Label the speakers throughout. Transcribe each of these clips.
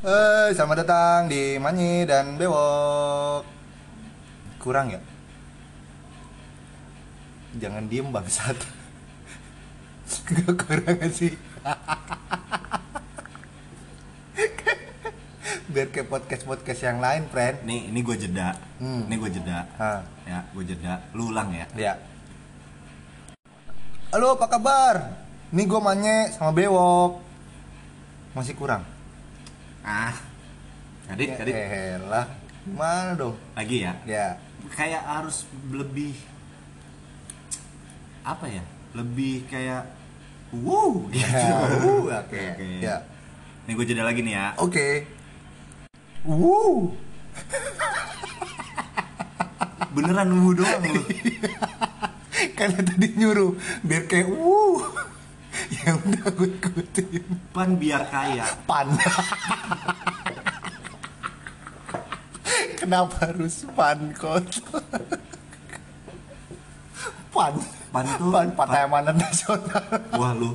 Speaker 1: Hai, selamat datang di Manyi dan Bewok. Kurang ya? Jangan diem bangsat. Gak kurang gak sih. Biar ke podcast podcast yang lain, friend.
Speaker 2: Nih, ini gue jeda.
Speaker 1: Hmm.
Speaker 2: Ini gue jeda.
Speaker 1: Ah,
Speaker 2: Ya, gue jeda. Lu ulang ya.
Speaker 1: ya. Halo, apa kabar? Nih gue Manye sama Bewok. Masih kurang.
Speaker 2: Ah. Kadit, kadit.
Speaker 1: Ya elah. Mana dong?
Speaker 2: Lagi ya.
Speaker 1: Ya.
Speaker 2: Kayak harus lebih apa ya? Lebih kayak wow gitu.
Speaker 1: Ya, wuh, oke.
Speaker 2: Oke.
Speaker 1: Ya.
Speaker 2: Nih gue jeda lagi nih ya.
Speaker 1: Oke. Wuh.
Speaker 2: Beneran wuh doang lu.
Speaker 1: Karena tadi nyuruh biar kayak wuh. ya udah gue ikutin.
Speaker 2: Pan biar kaya.
Speaker 1: Pan. Kenapa harus pan kotor? pan.
Speaker 2: Pan tuh-
Speaker 1: pan partai amanat nasional.
Speaker 2: Wah lu.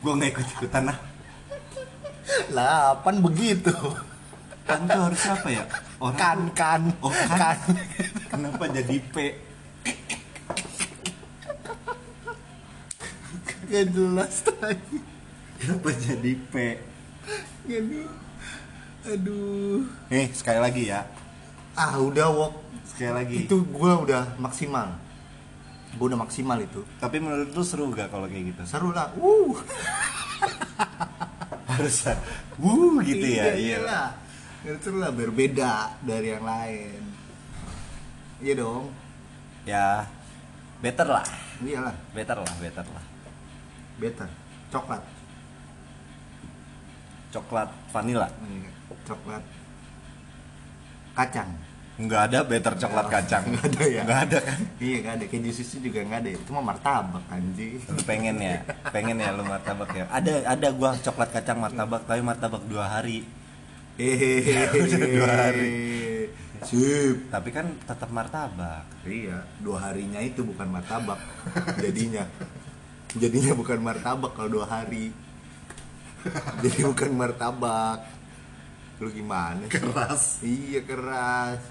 Speaker 2: Gue nggak ah. ikut ikutan lah.
Speaker 1: lah, pan begitu.
Speaker 2: Pan tuh harus apa ya? Orang
Speaker 1: Kan kan.
Speaker 2: Oh, kan. Kenapa jadi P?
Speaker 1: Gak jelas tadi.
Speaker 2: Kenapa jadi P?
Speaker 1: Aduh. Aduh.
Speaker 2: Nih, sekali lagi ya.
Speaker 1: Ah, udah wok.
Speaker 2: Sekali lagi.
Speaker 1: itu gue udah maksimal gue udah maksimal itu
Speaker 2: Tapi menurut lu seru gak kalau kayak gitu?
Speaker 1: seru lah uh
Speaker 2: Harus wuh gitu ya.
Speaker 1: iya lah seru lah berbeda dari yang lain iya dong
Speaker 2: Ya. Better lah.
Speaker 1: iyalah
Speaker 2: Better lah, better lah.
Speaker 1: better coklat
Speaker 2: Coklat vanilla.
Speaker 1: Iya, coklat kacang
Speaker 2: Nggak ada better coklat kacang.
Speaker 1: Nggak ada ya?
Speaker 2: Nggak ada kan?
Speaker 1: iya nggak ada keju susu juga nggak ada itu mah martabak anjing
Speaker 2: Lu pengen ya, pengen ya lu martabak ya. Ada ada gua coklat kacang martabak, tapi martabak dua hari.
Speaker 1: hehehe
Speaker 2: Udah dua hari.
Speaker 1: sip
Speaker 2: Tapi kan tetap martabak.
Speaker 1: Iya, dua harinya itu bukan martabak jadinya. Jadinya bukan martabak kalau dua hari. Jadi bukan martabak. Lu gimana sih?
Speaker 2: Keras.
Speaker 1: Iya keras.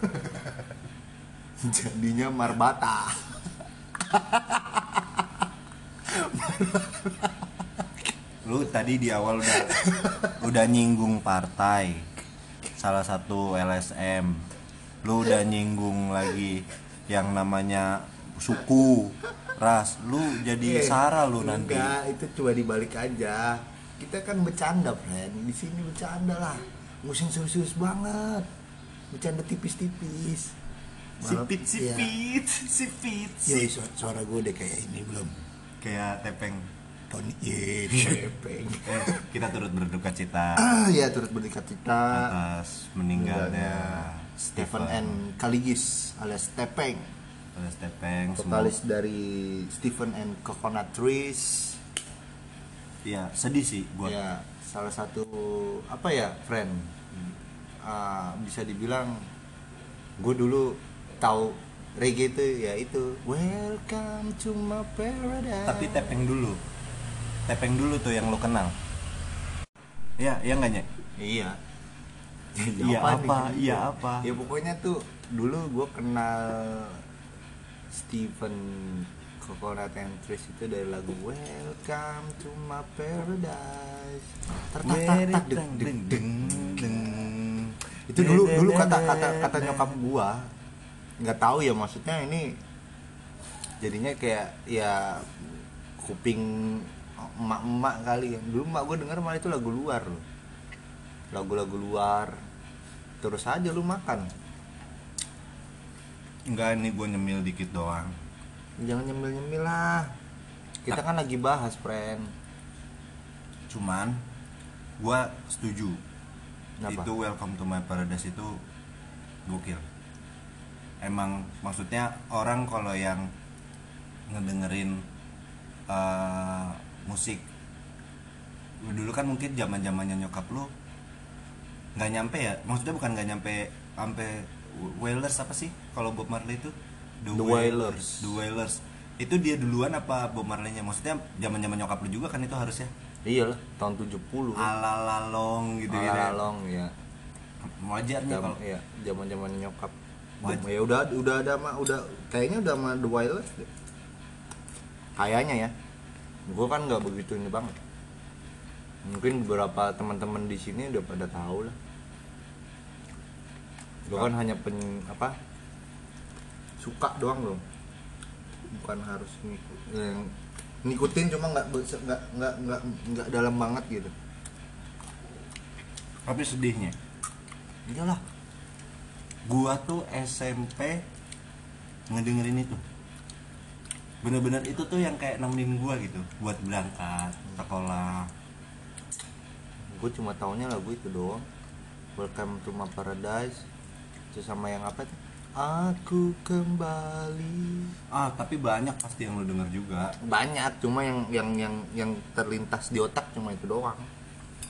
Speaker 1: Jadinya marbata.
Speaker 2: Lu tadi di awal udah udah nyinggung partai. Salah satu LSM. Lu udah nyinggung lagi yang namanya suku, ras. Lu
Speaker 1: Eh,
Speaker 2: jadi sara Iya, lu nanti.
Speaker 1: Enggak, itu coba dibalik aja. Kita kan bercanda, friend. Di sini bercanda lah. Musim serius-serius banget. Bercanda tipis-tipis. Malah-
Speaker 2: Sipit
Speaker 1: Iya.
Speaker 2: sipit sipit.
Speaker 1: Yoi,
Speaker 2: sip.
Speaker 1: Iya, suara, suara gue udah kayak ini belum
Speaker 2: Kayak tepeng.
Speaker 1: Tony Ye, Tepeng
Speaker 2: Eh, kita turut berduka cita
Speaker 1: Ah, ya turut berdekat cita
Speaker 2: atas meninggalnya
Speaker 1: Stephen N. Kaligis alias Tepeng
Speaker 2: alias Tepeng. Semoga-
Speaker 1: Vokalis dari Stephen and Coconut Trees
Speaker 2: Iya, sedih sih gua.
Speaker 1: Ya, salah satu apa ya, friend Ah, Bisa dibilang gue dulu tahu reggae itu ya itu Welcome to my paradise
Speaker 2: tapi tepeng dulu tepeng dulu tuh yang lo kenal ya ya nggak Nyek?
Speaker 1: Iya.
Speaker 2: Iya apa? Iya apa?
Speaker 1: Ya pokoknya tuh dulu gue kenal Steven Coconut and Trees itu dari lagu Welcome to my paradise. Tertatak deng deng deng. Itu dulu dulu kata kata kata nyokap gua nggak tahu ya maksudnya ini jadinya kayak ya kuping emak-emak kali ya dulu emak gue denger malah itu lagu luar loh lagu-lagu luar terus aja lu makan
Speaker 2: enggak ini gue nyemil dikit doang
Speaker 1: jangan nyemil-nyemil lah kita kan lagi bahas friend
Speaker 2: cuman gue setuju
Speaker 1: Kenapa?
Speaker 2: itu welcome to my paradise itu gokil emang maksudnya orang kalau yang ngedengerin eh, musik dulu kan mungkin zaman zamannya nyokap lu nggak nyampe ya maksudnya bukan nggak nyampe sampai Wailers apa sih kalau Bob Marley itu
Speaker 1: The Wailers.
Speaker 2: The Wailers itu dia duluan apa Bob Marley-nya maksudnya zaman zaman nyokap lu juga kan itu harusnya
Speaker 1: Iya lah, tahun 70
Speaker 2: ala lalong gitu gitu ya.
Speaker 1: Alalong ya.
Speaker 2: wajar
Speaker 1: Jam,
Speaker 2: nih Iya, kalau
Speaker 1: ya zaman-zaman nyokap.
Speaker 2: Waj-
Speaker 1: Ya udah udah ada mah udah kayaknya udah mah The Wireless deh. Kayaknya ya. Gue kan nggak begitu ini banget. Mungkin beberapa teman-teman di sini udah pada tahu lah. Gue kan hanya pen apa? Suka doang loh. Bukan harus ngikut- yang ngikutin cuma nggak be- nggak nggak nggak nggak dalam banget gitu.
Speaker 2: tapi sedihnya
Speaker 1: Iyalah,
Speaker 2: gua tuh SMP ngedengerin itu bener-bener itu tuh yang kayak nemenin gua gitu buat berangkat sekolah
Speaker 1: gue cuma taunya lagu itu doang Welcome to my paradise itu sama yang apa tuh aku kembali
Speaker 2: ah tapi banyak pasti yang lu denger juga
Speaker 1: banyak cuma yang yang yang yang terlintas di otak cuma itu doang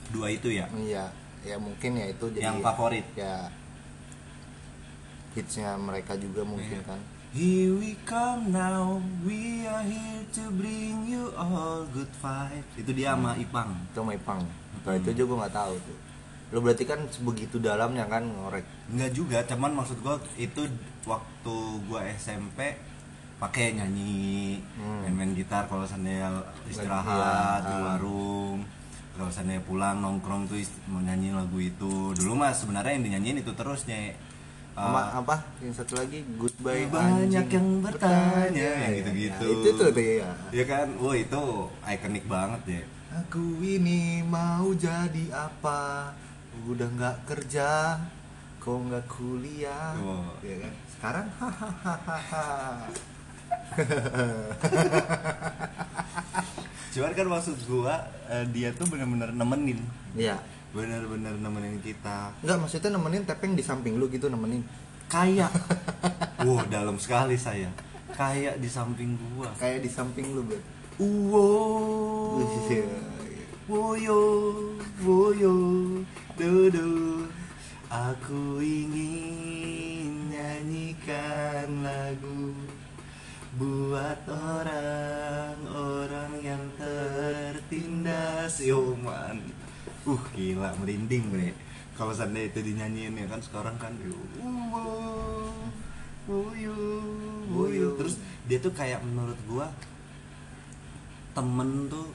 Speaker 2: dua itu ya
Speaker 1: iya ya mungkin ya itu jadi
Speaker 2: yang favorit
Speaker 1: ya hitsnya mereka juga mungkin
Speaker 2: Iya.
Speaker 1: kan
Speaker 2: Here we come now, we are here to bring you all good vibes. Itu dia sama Ipang.
Speaker 1: itu sama Ipang kalau
Speaker 2: Hmm.
Speaker 1: itu aja gue nggak tahu tuh lo berarti kan sebegitu dalamnya kan ngorek
Speaker 2: Enggak juga, cuman maksud gua itu waktu gua SMP pakai nyanyi,
Speaker 1: Hmm.
Speaker 2: main-main gitar kalau seandainya istirahat di
Speaker 1: Iya.
Speaker 2: warung. Kalau seandainya pulang nongkrong tuh ist- mau nyanyi lagu itu. Dulu mah sebenarnya yang dinyanyiin itu terus Nye. Eh,
Speaker 1: sama apa yang satu lagi goodbye
Speaker 2: banyak
Speaker 1: anjing
Speaker 2: yang bertanya
Speaker 1: Ya,
Speaker 2: yang gitu-gitu.
Speaker 1: ya, itu tuh tuh ya
Speaker 2: Ya kan, wah itu ikonik banget ya.
Speaker 1: Aku ini mau jadi apa? Udah nggak kerja, kok nggak kuliah?
Speaker 2: Wah.
Speaker 1: Ya kan? Sekarang hahaha.
Speaker 2: Cuman kan maksud gua eh, dia tuh bener-bener nemenin,
Speaker 1: Iya.
Speaker 2: bener-bener nemenin kita.
Speaker 1: Enggak maksudnya nemenin tepeng di samping lu gitu nemenin.
Speaker 2: Kayak, wow dalam sekali saya. Kayak di samping gua.
Speaker 1: Kayak di samping lu, Iya, Bro.
Speaker 2: Uwo, woyo, woyo, dodo. Aku ingin nyanyikan lagu buat orang-orang yang tertindas yoman. Uh gila merinding bre. Kalau seandainya itu dinyanyiin ya kan sekarang kan uwo, woyo, woyo. Terus dia tuh kayak menurut gua temen tuh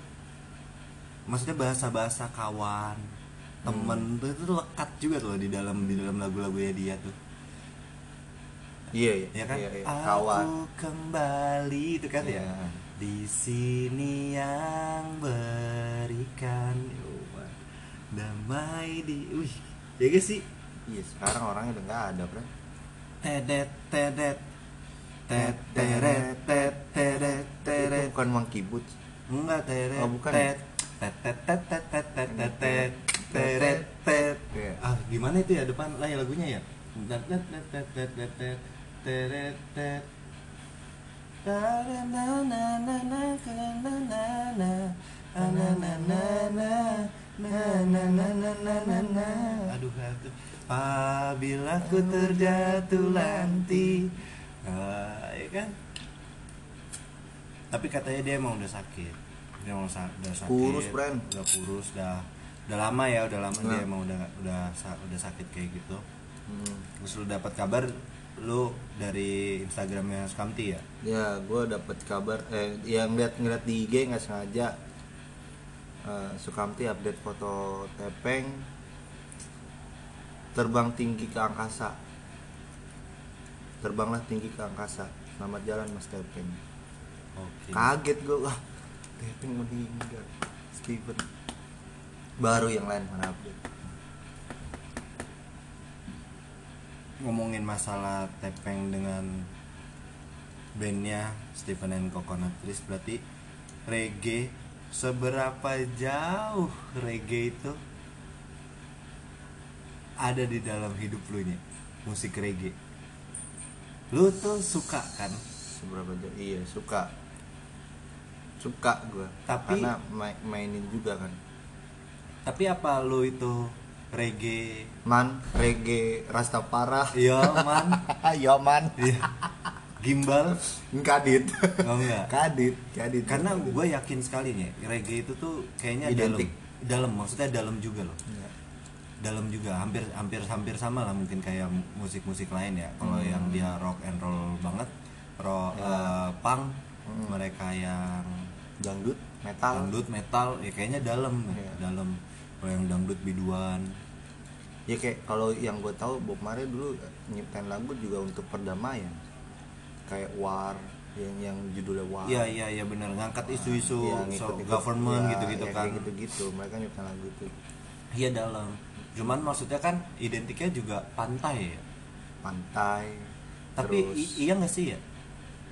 Speaker 2: maksudnya bahasa-bahasa kawan
Speaker 1: Hmm.
Speaker 2: temen tuh itu tuh lekat juga tuh di dalam di dalam lagu-lagunya dia tuh
Speaker 1: Iya, iya.
Speaker 2: ya kan
Speaker 1: Iya, iya.
Speaker 2: aku
Speaker 1: Kawan.
Speaker 2: kembali itu kan
Speaker 1: Iya.
Speaker 2: ya di sini yang berikan Yowan. damai di wih ya gak sih
Speaker 1: Iya, sekarang orangnya udah nggak ada, Bro.
Speaker 2: tedet tedet tet teret tet teret
Speaker 1: Itu
Speaker 2: teret
Speaker 1: bukan Monkey Boots.
Speaker 2: Enggak teret.
Speaker 1: Oh, bukan.
Speaker 2: Tet tet tet tet tet tet tet tet tet teret tet.
Speaker 1: Iya.
Speaker 2: Ah, gimana itu ya depan lah ya lagunya ya? Tet tet tet tet tet tet tet teret tet. Aduh, aduh. Apabila ku terjatuh nanti Ah, ya kan? Tapi katanya dia emang udah sakit. Dia emang sa- udah sakit.
Speaker 1: Kurus, Pren.
Speaker 2: Udah kurus, udah udah lama ya, udah lama dia
Speaker 1: Nah.
Speaker 2: emang udah udah sa- udah sakit kayak gitu.
Speaker 1: Hmm.
Speaker 2: Terus lu dapat kabar lu dari Instagramnya Skamti ya?
Speaker 1: Ya, gue dapat kabar eh yang lihat ngeliat di IG nggak sengaja Eh, Sukamti update foto tepeng terbang tinggi ke angkasa. Terbanglah tinggi ke angkasa. Selamat jalan Mas Tepeng.
Speaker 2: Oke.
Speaker 1: Kaget gue wah Tepeng meninggal. Steven. Baru yang lain mana update.
Speaker 2: Ngomongin masalah tepeng dengan bandnya Stephen and Coconut Trees berarti reggae seberapa jauh reggae itu ada di dalam hidup lu nya musik reggae lu tuh suka kan
Speaker 1: Seberapa jauh? Iya, suka. Suka gue.
Speaker 2: Tapi-
Speaker 1: karena ma- mainin juga kan.
Speaker 2: tapi apa lu itu reggae
Speaker 1: Man, reggae, rasta parah.
Speaker 2: Iya man
Speaker 1: Yoman
Speaker 2: Iya. gimbal
Speaker 1: kadit
Speaker 2: Oh, enggak.
Speaker 1: kadit kadit
Speaker 2: karena gue yakin sekali nih reggae itu tuh kayaknya
Speaker 1: Identik.
Speaker 2: dalam dalam maksudnya dalam juga loh
Speaker 1: Iya.
Speaker 2: dalam juga hampir hampir hampir sama lah mungkin kayak musik-musik lain ya kalau
Speaker 1: Hmm.
Speaker 2: yang dia rock and roll banget rock
Speaker 1: Ya.
Speaker 2: eh, punk
Speaker 1: Hmm.
Speaker 2: mereka yang
Speaker 1: dangdut metal
Speaker 2: dangdut metal ya kayaknya dalam
Speaker 1: Iya.
Speaker 2: dalam kalau yang dangdut biduan
Speaker 1: ya kayak kalau yang gue tahu Bob Marley dulu nyiptain lagu juga untuk perdamaian kayak war yang yang judulnya war
Speaker 2: iya iya iya bener ngangkat isu-isu
Speaker 1: Iya,
Speaker 2: so,
Speaker 1: ngikut-ngikut.
Speaker 2: government
Speaker 1: Iya,
Speaker 2: gitu-gitu
Speaker 1: ya,
Speaker 2: kan
Speaker 1: kayak gitu-gitu mereka nyiptain lagu itu
Speaker 2: iya dalam cuman maksudnya kan identiknya juga pantai ya
Speaker 1: pantai
Speaker 2: tapi
Speaker 1: terus-
Speaker 2: i- iya nggak sih ya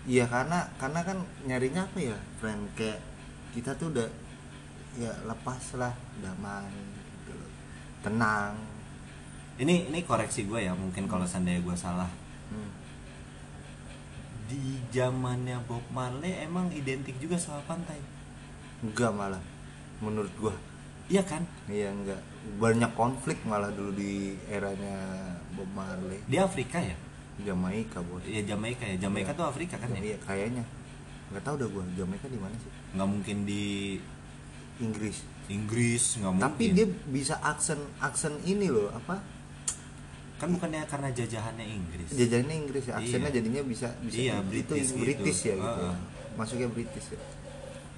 Speaker 1: Iya karena karena kan nyarinya apa ya friend kayak kita tuh udah ya lepas lah damai gitu loh. tenang
Speaker 2: ini ini koreksi gue ya mungkin kalau seandainya gue salah
Speaker 1: Hmm.
Speaker 2: di zamannya Bob Marley emang identik juga sama pantai
Speaker 1: enggak malah menurut gua
Speaker 2: iya kan
Speaker 1: iya enggak banyak konflik malah dulu di eranya Bob Marley
Speaker 2: di Afrika ya
Speaker 1: Jamaika bos
Speaker 2: ya Jamaika ya Jamaika
Speaker 1: Iya.
Speaker 2: tuh Afrika kan ya
Speaker 1: iya kayaknya nggak tahu dah gua Jamaika di mana sih
Speaker 2: nggak mungkin di
Speaker 1: Inggris
Speaker 2: Inggris nggak mungkin
Speaker 1: tapi dia bisa aksen aksen ini loh apa
Speaker 2: kan bukannya karena jajahannya Inggris
Speaker 1: jajannya Inggris ya aksennya
Speaker 2: Iya.
Speaker 1: jadinya bisa bisa
Speaker 2: Iya,
Speaker 1: itu
Speaker 2: British gitu.
Speaker 1: British ya gitu ya.
Speaker 2: Heeh.
Speaker 1: masuknya British ya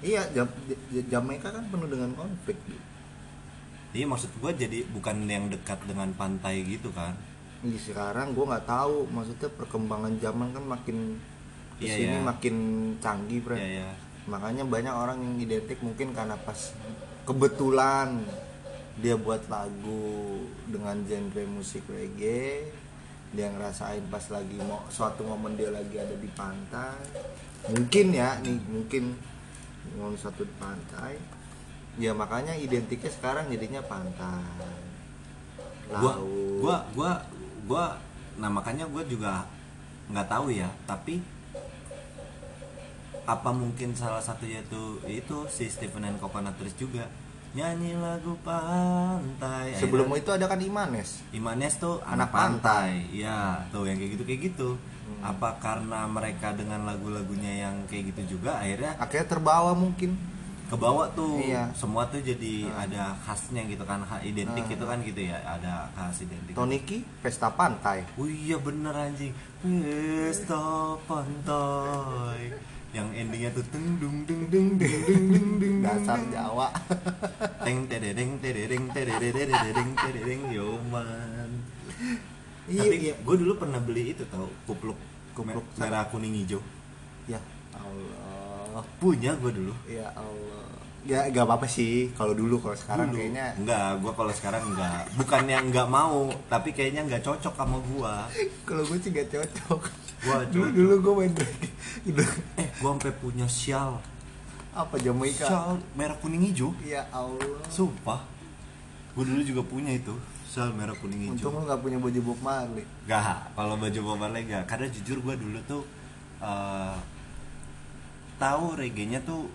Speaker 1: iya Jam- J- J- Jamaika kan penuh dengan konflik
Speaker 2: jadi Iya, maksud gue jadi bukan yang dekat dengan pantai gitu kan
Speaker 1: di sekarang gue nggak tahu maksudnya perkembangan zaman kan makin
Speaker 2: Iya,
Speaker 1: kesini
Speaker 2: iya.
Speaker 1: makin canggih bro
Speaker 2: Iya, iya.
Speaker 1: makanya banyak orang yang identik mungkin karena pas kebetulan dia buat lagu dengan genre musik reggae dia ngerasain pas lagi mau suatu momen dia lagi ada di pantai mungkin ya nih mungkin momen suatu di pantai ya makanya identiknya sekarang jadinya pantai
Speaker 2: gua
Speaker 1: laut
Speaker 2: gua gua gua nah makanya gua juga nggak tahu ya tapi apa mungkin salah satunya itu itu si Stephen and Coconutters juga nyanyi lagu pantai
Speaker 1: sebelum
Speaker 2: Akhirnya
Speaker 1: itu ada kan Imanes
Speaker 2: Imanes tuh
Speaker 1: Anak
Speaker 2: anak pantai, ya tuh yang kayak gitu kayak gitu apa karena mereka dengan lagu-lagunya yang kayak gitu juga akhirnya
Speaker 1: akhirnya terbawa mungkin
Speaker 2: kebawa tuh
Speaker 1: Iya.
Speaker 2: semua tuh jadi ada khasnya gitu kan ha- identik gitu kan gitu ya ada khas identik
Speaker 1: Toniki pesta pantai
Speaker 2: Oh iya bener anjing. Pesta pantai. Yang endingnya tuh teng dung dung dung dung dung dung dung.
Speaker 1: dasar Jawa
Speaker 2: Teng tededeng tededeng tededeng tededeng yoman.
Speaker 1: Iya,
Speaker 2: Tapi gue dulu pernah beli itu tau kupluk
Speaker 1: Kupluk.
Speaker 2: Me- merah kuning hijau.
Speaker 1: ya Allah
Speaker 2: Punya gue dulu.
Speaker 1: ya Allah ya gak apa apa sih kalau dulu kalau sekarang
Speaker 2: Dulu.
Speaker 1: kayaknya
Speaker 2: enggak, gue kalau sekarang enggak. Bukannya enggak mau, tapi kayaknya enggak cocok sama gue.
Speaker 1: kalau gue sih gak cocok
Speaker 2: Gua
Speaker 1: dulu
Speaker 2: cocok.
Speaker 1: dulu gue main reggae Udah,
Speaker 2: Eh, gue sampai punya sial.
Speaker 1: apa Jamaika
Speaker 2: Sial merah kuning hijau.
Speaker 1: ya Allah
Speaker 2: Sumpah Gue dulu juga punya itu Sel merah kuning
Speaker 1: untung
Speaker 2: hijau
Speaker 1: lu gak punya baju Bob Marley
Speaker 2: Gak, kalau baju Bob Marley gak Karena jujur gue dulu tuh eh tahu reggae-nya tuh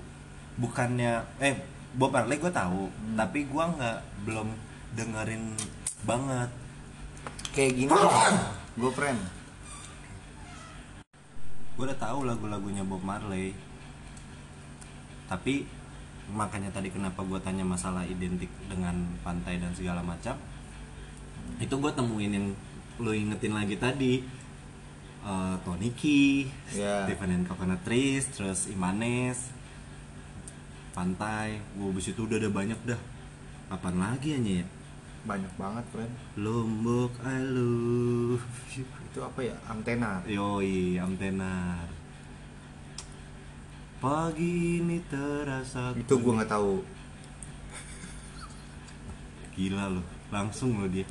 Speaker 2: bukannya Eh Bob Marley gue tahu
Speaker 1: Hmm.
Speaker 2: Tapi gue nggak belum dengerin banget
Speaker 1: kayak gini gue friend
Speaker 2: Gue udah tahu lagu-lagunya Bob Marley Tapi makanya tadi kenapa gue tanya masalah identik dengan pantai dan segala macam itu gue temuin yang lo ingetin lagi tadi Eh, Toniki,
Speaker 1: Iya.
Speaker 2: Stephen and Coconut Trees, terus Imanes, pantai, gue abis itu udah ada banyak dah. Apaan lagi aja ya?
Speaker 1: banyak banget friend
Speaker 2: Lombok, I love you.
Speaker 1: itu apa ya antena
Speaker 2: Iya, Yoi, amtenar. Pagi ini terasa
Speaker 1: itu gue nggak tahu
Speaker 2: gila loh langsung loh dia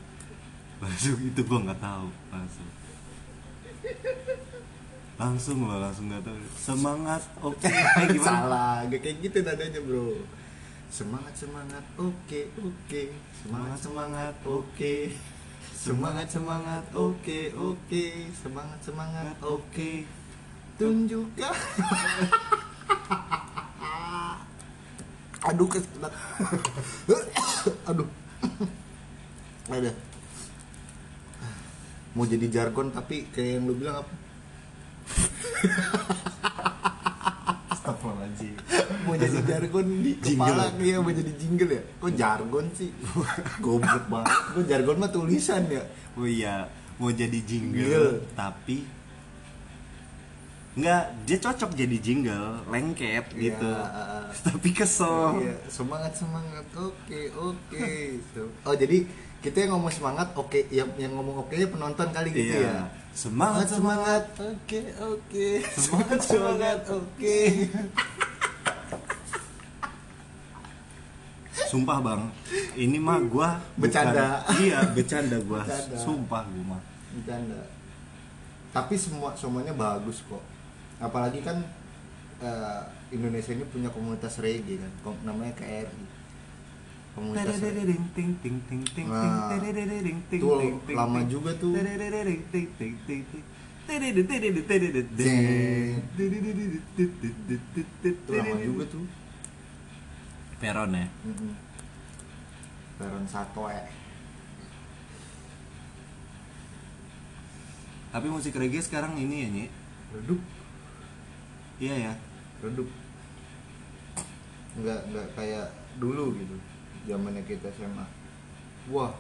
Speaker 2: langsung itu gua nggak tahu langsung langsung loh langsung nggak tahu semangat oke Eh, gimana
Speaker 1: salah gak kayak gitu nadanya bro semangat semangat oke oke semangat semangat oke semangat semangat oke oke semangat semangat oke tunjukkan aduh kes aduh ada mau jadi jargon tapi kayak yang lu bilang apa
Speaker 2: Astagfirullahaladzim
Speaker 1: mau jadi jargon di kepala dia mau jadi jingle ya kok jargon sih goblok banget kok jargon mah tulisan ya
Speaker 2: Oh iya Mau jadi jingle
Speaker 1: Jingle.
Speaker 2: Tapi Enggak Dia cocok jadi jingle Lengket gitu
Speaker 1: Iya.
Speaker 2: Tapi kesel
Speaker 1: Iya, semangat semangat. Oke, oke. So- Oh, jadi kita yang ngomong semangat, oke, yang yang ngomong oke penonton kali gitu ya.
Speaker 2: Iya. Semangat,
Speaker 1: semangat. Oke, oke. Semangat semangat. Oke.
Speaker 2: Sumpah bang Ini mah gua bukan-
Speaker 1: Bercanda.
Speaker 2: Iya bercanda gua
Speaker 1: Bercanda.
Speaker 2: Sumpah gua mah
Speaker 1: Bercanda. Tapi semua semuanya bagus kok. Apalagi kan eh, Indonesia ini punya komunitas reggae kan, kom- namanya KRI. Komunitas reggae.
Speaker 2: Tadadadading, ting, ting, ting, ting, ting,
Speaker 1: Nah,
Speaker 2: tadadadading, ting,
Speaker 1: tuh
Speaker 2: ting, ting,
Speaker 1: lama
Speaker 2: ting.
Speaker 1: juga tuh.
Speaker 2: Tadadadading, ting, ting, ting, ting. Tadadadading, tadadadading.
Speaker 1: Jeng.
Speaker 2: Tadadadading.
Speaker 1: Itu lama juga tuh.
Speaker 2: Peron ya
Speaker 1: Mm-mm. Baron eh. Satoe.
Speaker 2: Tapi musik reggae sekarang ini ya Nyi
Speaker 1: Redup.
Speaker 2: Iya ya
Speaker 1: redup nggak nggak kayak dulu gitu zamannya kita SMA wah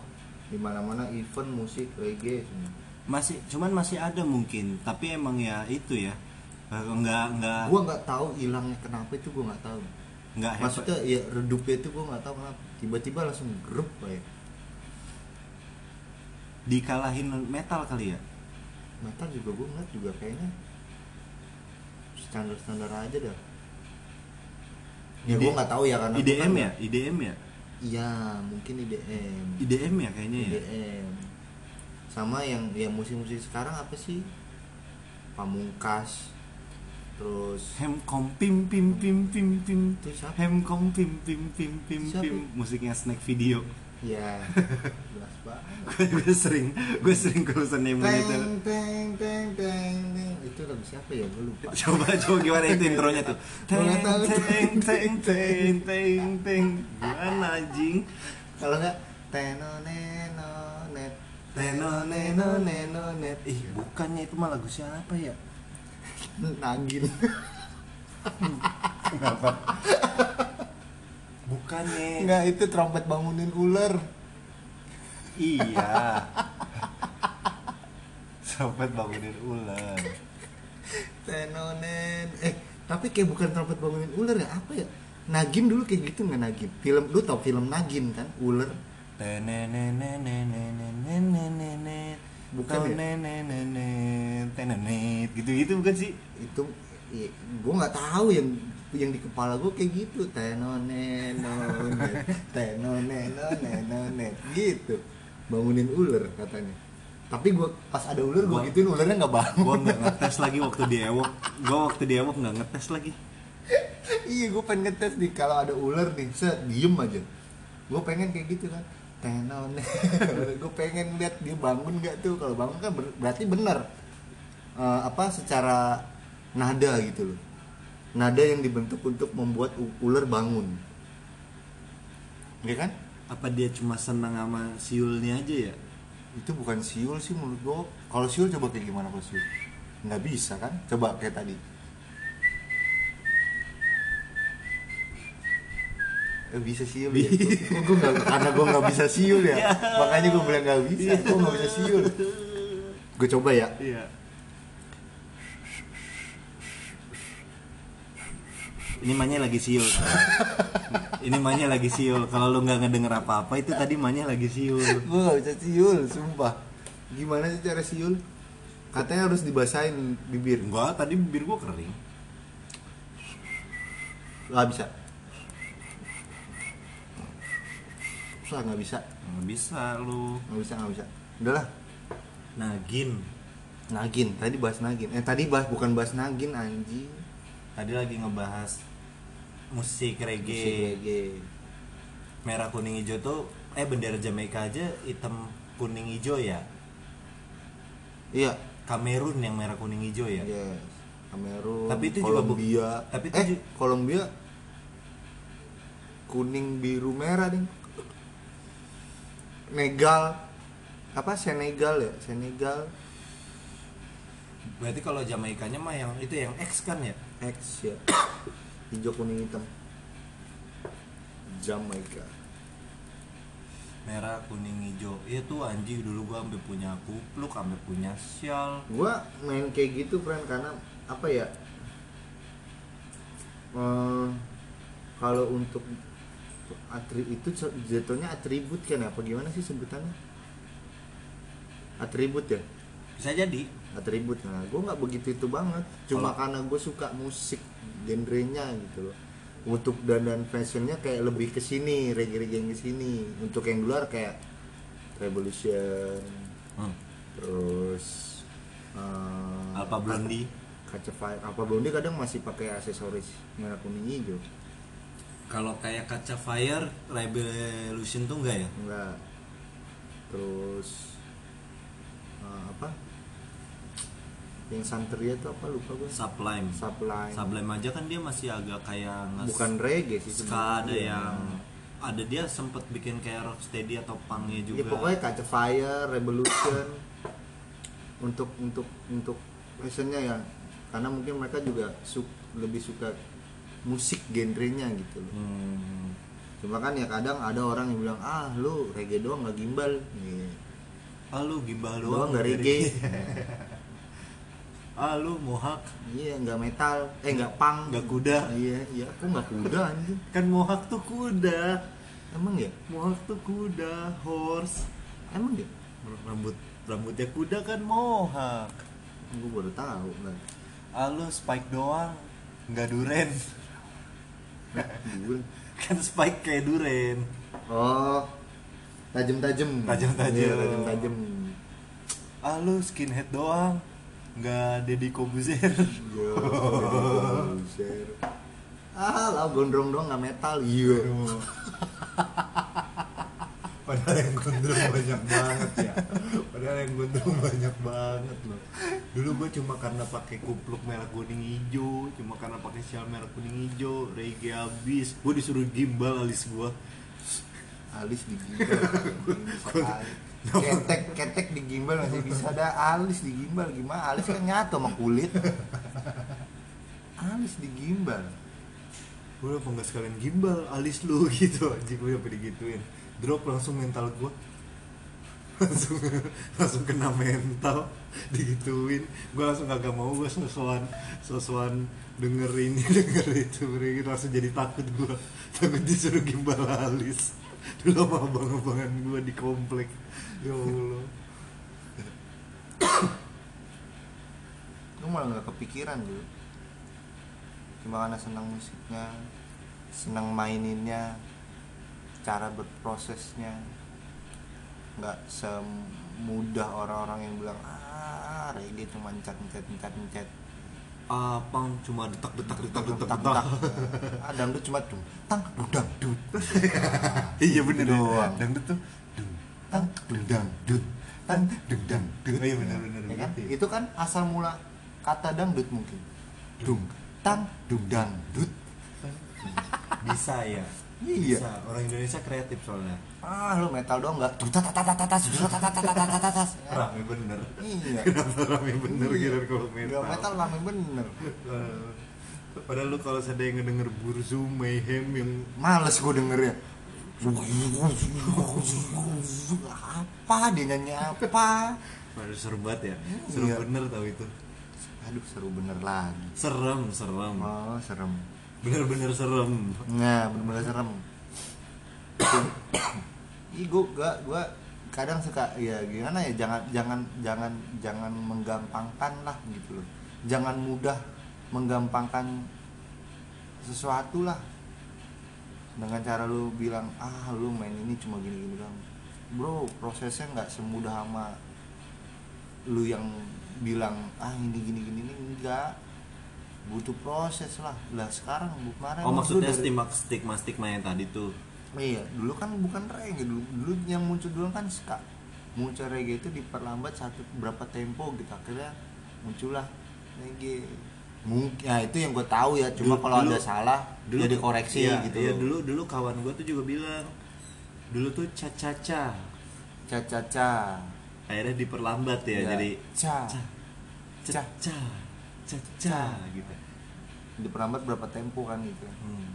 Speaker 1: di mana mana event musik reggae semua
Speaker 2: masih cuman masih ada mungkin tapi emang ya itu ya eh, nggak nggak
Speaker 1: gua nggak tahu hilangnya kenapa itu gua nggak tahu
Speaker 2: nggak hebat
Speaker 1: maksudnya ya redupnya itu gua nggak tahu kenapa tiba-tiba langsung grup ya. kayak
Speaker 2: dikalahin metal kali ya
Speaker 1: metal juga gua ngeliat juga kayaknya standar standar aja dah ya
Speaker 2: Ide-
Speaker 1: gua nggak tahu ya karena gua kan
Speaker 2: IDM ya
Speaker 1: nggak-
Speaker 2: IDM ya
Speaker 1: iya mungkin IDM
Speaker 2: IDM ya kayaknya ya
Speaker 1: IDM sama yang ya musik-musik sekarang apa sih pamungkas terus
Speaker 2: hem kom pim pim pim pim pim
Speaker 1: Itu siapa?
Speaker 2: hem kom pim pim pim pim
Speaker 1: Siapa?
Speaker 2: pim musiknya snack video
Speaker 1: ya jelas banget
Speaker 2: gue sering gue sering kurusan name itu
Speaker 1: teng teng teng teng teng itu lagu siapa ya gue lupa
Speaker 2: coba coba gimana itu intronya tuh
Speaker 1: Gua
Speaker 2: teng
Speaker 1: nggak tahu.
Speaker 2: teng teng teng teng teng gimana anjing
Speaker 1: kalau nggak teno neno net
Speaker 2: Neno neno neno net Ih bukannya itu mah lagu siapa ya
Speaker 1: nagin
Speaker 2: Bukannya
Speaker 1: nggak itu trompet bangunin ular
Speaker 2: Iya Sobat bangunin ular
Speaker 1: teno nen eh tapi kayak bukan trompet bangunin ular ya apa ya Nagin dulu kayak gitu nggak Nagin film lu tau film Nagin kan ular Bukan ya?
Speaker 2: Tenenet Gitu-gitu bukan sih
Speaker 1: itu ya, gue nggak tahu yang yang di kepala gue kayak gitu tenoneno tenoneno nenonet gitu bangunin ular katanya tapi gue pas ada ular gue
Speaker 2: Gua-
Speaker 1: gituin ularnya nggak
Speaker 2: Gua
Speaker 1: bangun
Speaker 2: nggak ngetes lagi waktu di Ewok Gua waktu di Ewok nggak ngetes lagi
Speaker 1: iya gue pengen ngetes nih kalau ada ular nih set diem aja gue pengen kayak gitu kan tenone gue pengen lihat dia bangun nggak tuh kalau bangun kan ber- berarti bener Eh, apa secara nada gitu loh nada yang dibentuk untuk membuat u- ular bangun ya kan
Speaker 2: Apa dia cuma senang sama siulnya aja ya?
Speaker 1: itu bukan siul sih menurut gue kalau siul coba kayak gimana kalau siul nggak bisa kan coba kayak tadi Eh, bisa siul ya Gua- gua nggak- karena gue nggak bisa siul ya makanya gue bilang nggak bisa gue nggak bisa siul gue coba ya
Speaker 2: Iya. Ini mahnya lagi siul. Ini mahnya lagi siul. Kalau lu nggak ngedenger apa-apa itu tadi mahnya lagi siul.
Speaker 1: gue nggak bisa siul sumpah gimana sih cara siul katanya harus dibasahin bibir
Speaker 2: Enggak, tadi bibir gua kering.
Speaker 1: nggak bisa susah nggak bisa
Speaker 2: Nggak bisa lu.
Speaker 1: nggak bisa nggak bisa udahlah
Speaker 2: Nah, Nagin.
Speaker 1: Nagin, tadi bahas Nagin. Eh tadi bahas bukan bahas Nagin anjing.
Speaker 2: Tadi lagi ngebahas
Speaker 1: Musik
Speaker 2: musik reggae.
Speaker 1: reggae.
Speaker 2: Merah kuning hijau tuh eh bendera Jamaika aja hitam kuning hijau ya.
Speaker 1: Iya.
Speaker 2: Kamerun yang merah kuning hijau ya.
Speaker 1: Yes. Kamerun.
Speaker 2: Tapi itu juga bu-
Speaker 1: Kolombia.
Speaker 2: tapi itu
Speaker 1: eh,
Speaker 2: ju-
Speaker 1: Kolombia kuning biru merah ding. Negal apa Senegal ya? Senegal
Speaker 2: berarti kalau Jamaikanya mah yang itu yang X kan ya
Speaker 1: X ya hijau kuning hitam Jamaika
Speaker 2: merah kuning hijau itu anjing dulu gua sampai punya kupluk sampai punya sial
Speaker 1: gua main kayak gitu friend karena apa ya Eh, kalau untuk atri itu co- jatuhnya atribut kan ya? apa gimana sih sebutannya atribut ya
Speaker 2: bisa jadi
Speaker 1: atribut nah gue nggak begitu itu banget cuma
Speaker 2: Kalau-
Speaker 1: karena gue suka musik genrenya gitu loh untuk dandan fashionnya kayak lebih ke sini reggae-reggae yang ke sini untuk yang di luar kayak revolution
Speaker 2: hmm.
Speaker 1: terus eh,
Speaker 2: Alpha Blondie
Speaker 1: kaca fire apa belum dia kadang masih pakai aksesoris merah kuning hijau
Speaker 2: kalau kayak kaca fire revolution tuh enggak ya
Speaker 1: enggak terus eh, apa yang santeria tuh apa lupa gue
Speaker 2: sublime
Speaker 1: Sublime.
Speaker 2: sublime aja kan dia masih agak kayak nge-
Speaker 1: bukan reggae Iya sih
Speaker 2: ska ada
Speaker 1: sebenarnya.
Speaker 2: yang ada dia sempet bikin kayak rocksteady atau punknya
Speaker 1: ya
Speaker 2: juga
Speaker 1: pokoknya kaca fire revolution untuk untuk untuk fashionnya ya karena mungkin mereka juga su- lebih suka musik genrenya gitu loh
Speaker 2: Hmm.
Speaker 1: cuma kan ya kadang ada orang yang bilang ah lu reggae doang nggak gimbal Iya.
Speaker 2: ah lu gimbal
Speaker 1: doang
Speaker 2: doang
Speaker 1: nggak
Speaker 2: dari-
Speaker 1: reggae
Speaker 2: ah lu mohak
Speaker 1: iya nggak metal eh nggak punk
Speaker 2: Nggak kuda.
Speaker 1: iya iya aku nggak kuda anjing
Speaker 2: kan mohak tuh kuda
Speaker 1: emang ya
Speaker 2: mohak tuh kuda horse
Speaker 1: emang ya
Speaker 2: rambut rambutnya kuda kan mohak
Speaker 1: gue baru tahu nah,
Speaker 2: ah lu spike doang nggak duren
Speaker 1: gue
Speaker 2: kan spike kayak duren
Speaker 1: oh tajam-tajam
Speaker 2: Tajam-tajam.
Speaker 1: Iya, tajam-tajam
Speaker 2: ah lu skinhead doang nggak Deddy Kobuzer
Speaker 1: Yo, share. Iya, ah lah gondrong doang nggak metal iya
Speaker 2: Padahal yang gondrong banyak banget ya. Padahal yang gondrong banyak banget loh. Dulu gue cuma karena pakai kupluk merah kuning hijau, cuma karena pakai sial merah kuning hijau, reggae abis. Gue disuruh gimbal alis gue.
Speaker 1: alis digimbal ketek ketek digimbal masih bisa ada alis digimbal gimana alis kan nyatu sama kulit alis digimbal
Speaker 2: Gue udah nggak sekalian gimbal alis lu gitu. Anjing gue sampai digituin. Drop langsung mental gue langsung langsung kena mental digituin gue langsung kagak mau gue sosokan sosokan denger ini denger itu Mereka langsung jadi takut gue takut disuruh gimbal alis dulu sama abang-abangan gue di komplek ya allah
Speaker 1: gue malah nggak kepikiran dulu cuma karena senang musiknya senang maininnya cara berprosesnya nggak semudah orang-orang yang bilang ah reggae cuma mencet mencet mencet mencet
Speaker 2: apang cuma detak detak detak detak
Speaker 1: tak
Speaker 2: detak
Speaker 1: tak adam tuh Ah, cuma dung tang dudang dud
Speaker 2: iya bener
Speaker 1: Gitu
Speaker 2: ya
Speaker 1: doang.
Speaker 2: dangdut tuh dung
Speaker 1: tang dudang dud tang dudang dud
Speaker 2: Oh iya, benar-benar
Speaker 1: Ya kan?
Speaker 2: gitu ya.
Speaker 1: itu kan asal mula kata dangdut mungkin dung tang dudang dud
Speaker 2: bisa ya
Speaker 1: Iya.
Speaker 2: bisa orang Indonesia kreatif soalnya
Speaker 1: ah lu metal doang nggak tuh tat tat tat tat tat tat tat tat tat tat tat
Speaker 2: rame bener
Speaker 1: iya
Speaker 2: kenapa rame bener gitu kalau
Speaker 1: Gak Iya. metal rame bener
Speaker 2: Eh, Padahal lu kalau ada yang ngedenger Burzu Mayhem yang
Speaker 1: males ya. gue dengernya apa dia nyanyi apa
Speaker 2: pada serbat ya. Serem
Speaker 1: Iya.
Speaker 2: bener tau itu.
Speaker 1: aduh seru bener lagi
Speaker 2: Serem, serem.
Speaker 1: oh serem
Speaker 2: Bener-bener serem.
Speaker 1: nah bener-bener serem Ih, gue gak gue kadang suka ya gimana ya jangan jangan jangan jangan menggampangkan lah gitu loh jangan mudah menggampangkan sesuatu lah dengan cara lu bilang ah lu main ini cuma gini gini doang bro prosesnya nggak semudah sama lu yang bilang ah ini gini gini ini enggak butuh proses lah lah sekarang bu- kemarin
Speaker 2: Oh
Speaker 1: lu
Speaker 2: maksudnya
Speaker 1: dari-
Speaker 2: stigma stigma stigma yang tadi tuh.
Speaker 1: Iya, dulu kan bukan reggae dulu, dulu yang muncul dulu kan ska. Muncul reggae itu diperlambat satu berapa tempo gitu akhirnya muncullah reggae. Mungkin ya itu yang gue tahu ya, cuma
Speaker 2: Dulu-
Speaker 1: kalau ada
Speaker 2: Ah, dulu-
Speaker 1: salah dulu, jadi koreksi
Speaker 2: iya,
Speaker 1: gitu.
Speaker 2: Iya, dulu dulu kawan gue tuh juga bilang dulu tuh caca-caca
Speaker 1: Ca ca ca.
Speaker 2: Iya. akhirnya diperlambat ya, jadi
Speaker 1: ca.
Speaker 2: ca cecah cecah cecah gitu
Speaker 1: di perambat berapa tempo kan gitu
Speaker 2: Hmm.